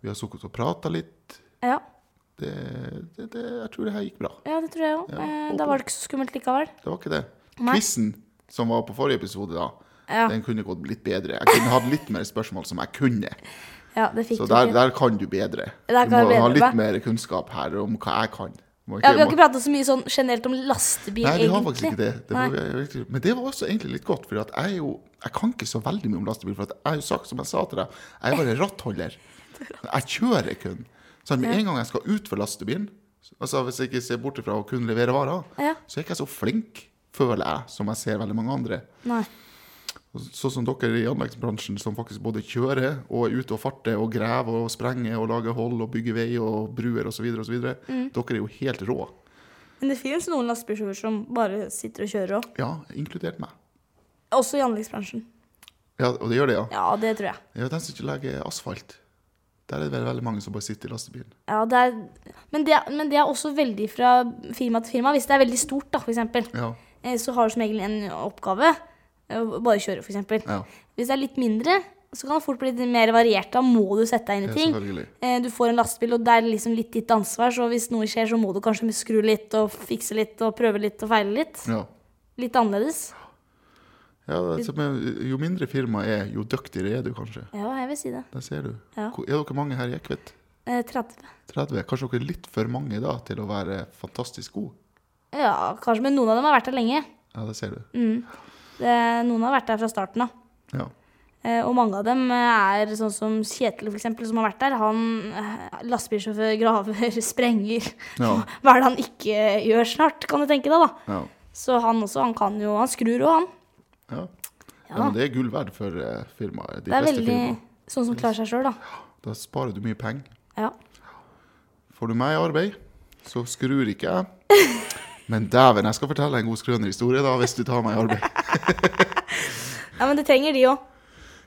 S2: Vi har sukket og prata litt.
S1: Ja,
S2: Det, det, det, jeg tror det her gikk bra.
S1: ja det tror jeg òg.
S2: Ja,
S1: Eh,
S2: håper
S1: da var det ikke så skummelt likevel.
S2: Det var ikke det.
S1: Nei.
S2: Quizen som var på forrige episode, da,
S1: Ja,
S2: den kunne gått litt bedre. Jeg kunne hatt litt mer spørsmål som jeg kunne.
S1: ja det fikk
S2: Så
S1: du
S2: der,
S1: til.
S2: der kan du bedre. Du
S1: Der kan
S2: må
S1: jeg bedre
S2: ha litt
S1: meg.
S2: mer kunnskap her om hva jeg kan. Du må
S1: Ja, vi har
S2: må-
S1: ikke pratet så mye sånn generelt om lastebil,
S2: Nei, vi har faktisk
S1: egentlig.
S2: ikke det. det
S1: Nei.
S2: var, virkelig- men det var også egentlig litt godt, for at jeg, er jo, jeg kan ikke så veldig mye om lastebil. For at jeg har jo sagt, som jeg sa til deg, jeg er bare rattholder. Jeg kjører kun. Så med en gang jeg skal ut for lastebilen, altså hvis jeg ikke ser bort fra å kun levere varer,
S1: Ja.
S2: så er ikke jeg så flink, føler jeg, som jeg ser veldig mange andre.
S1: Nei.
S2: Sånn som dere i anleggsbransjen som faktisk både kjører og er ute og farter og graver og sprenger og lager hold og bygger vei og bruer osv. osv. videre
S1: Mm.
S2: Dere er jo helt rå.
S1: Men det finnes noen lastebilsjåfører som bare sitter og kjører òg.
S2: Ja, inkludert meg.
S1: Også i anleggsbransjen.
S2: Ja, Og det gjør det, ja.
S1: Ja, det tror jeg.
S2: Ja, den som ikke legger asfalt. Der er det vel veldig mange som bare sitter i lastebilen.
S1: Ja, det er, men, det er, men det er også veldig fra firma til firma. Hvis det er veldig stort, da, for eksempel,
S2: Ja,
S1: eh, så har du som regel en oppgave. eh, Bare kjøre, for eksempel.
S2: ja,
S1: Hvis det er litt mindre, så kan det fort bli litt mer variert. Da må du sette deg inn
S2: ja
S1: i ting.
S2: selvfølgelig.
S1: Eh, Du får en lastebil, og det er liksom litt ditt ansvar. Så hvis noe skjer, så må du kanskje skru litt og fikse litt og prøve litt og feile litt.
S2: Ja.
S1: Litt annerledes.
S2: Ja, altså, men jo mindre firma er, jo dyktigere er du kanskje.
S1: Ja, jeg vil si det.
S2: Der ser du.
S1: Ja.
S2: Hvor- Er dere mange her i Ekvedt?
S1: Eh, 30.
S2: 30? Kanskje dere er litt for mange da til å være fantastisk gode?
S1: Ja, kanskje, men noen av dem har vært der lenge.
S2: Ja, det ser du.
S1: Mm. Det, noen har vært der fra starten av.
S2: Ja.
S1: Eh, Og mange av dem eh, er sånn som Kjetil, for eksempel, som har vært der. Han eh, lastebilsjåfør, graver, sprenger.
S2: Ja.
S1: Hva er det han ikke gjør snart, kan du tenke deg, da.
S2: ja.
S1: Så han også, han kan jo Han skrur òg, han.
S2: ja.
S1: Ja,
S2: Ja, men det er gull verd for eh, firmaer. De
S1: det er
S2: fleste
S1: veldig
S2: firmaer.
S1: Sånn som klarer seg sjøl, da.
S2: Da sparer du mye penger.
S1: Ja.
S2: Får du meg i arbeid, så skrur ikke jeg. Men dæven, jeg skal fortelle en god skrønerhistorie da, hvis du tar meg i arbeid.
S1: ja, men det trenger de òg.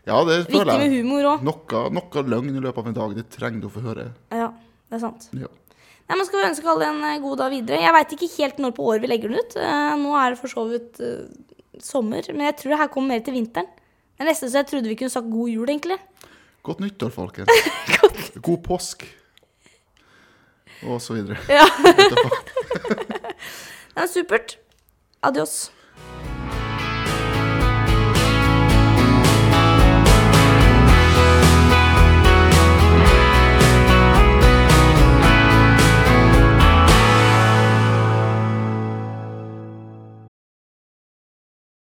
S2: Ja, det
S1: Viktig
S2: føler
S1: med
S2: jeg.
S1: humor òg.
S2: Noe, noe løgn i løpet av en dag, det trenger du å få høre.
S1: Ja, det er sant.
S2: Ja.
S1: Nei, men Skal vi ønske alle en eh, god dag videre? Jeg veit ikke helt når på året vi legger den ut. Eh, Nå er det for så vidt eh, sommer, men jeg tror det her kommer mer til vinteren. Det er nesten så jeg trodde vi kunne sagt god jul, egentlig.
S2: Godt nyttår, folkens. God påsk. Og så videre.
S1: Ja.
S2: What the fuck?
S1: Det er supert. Adios.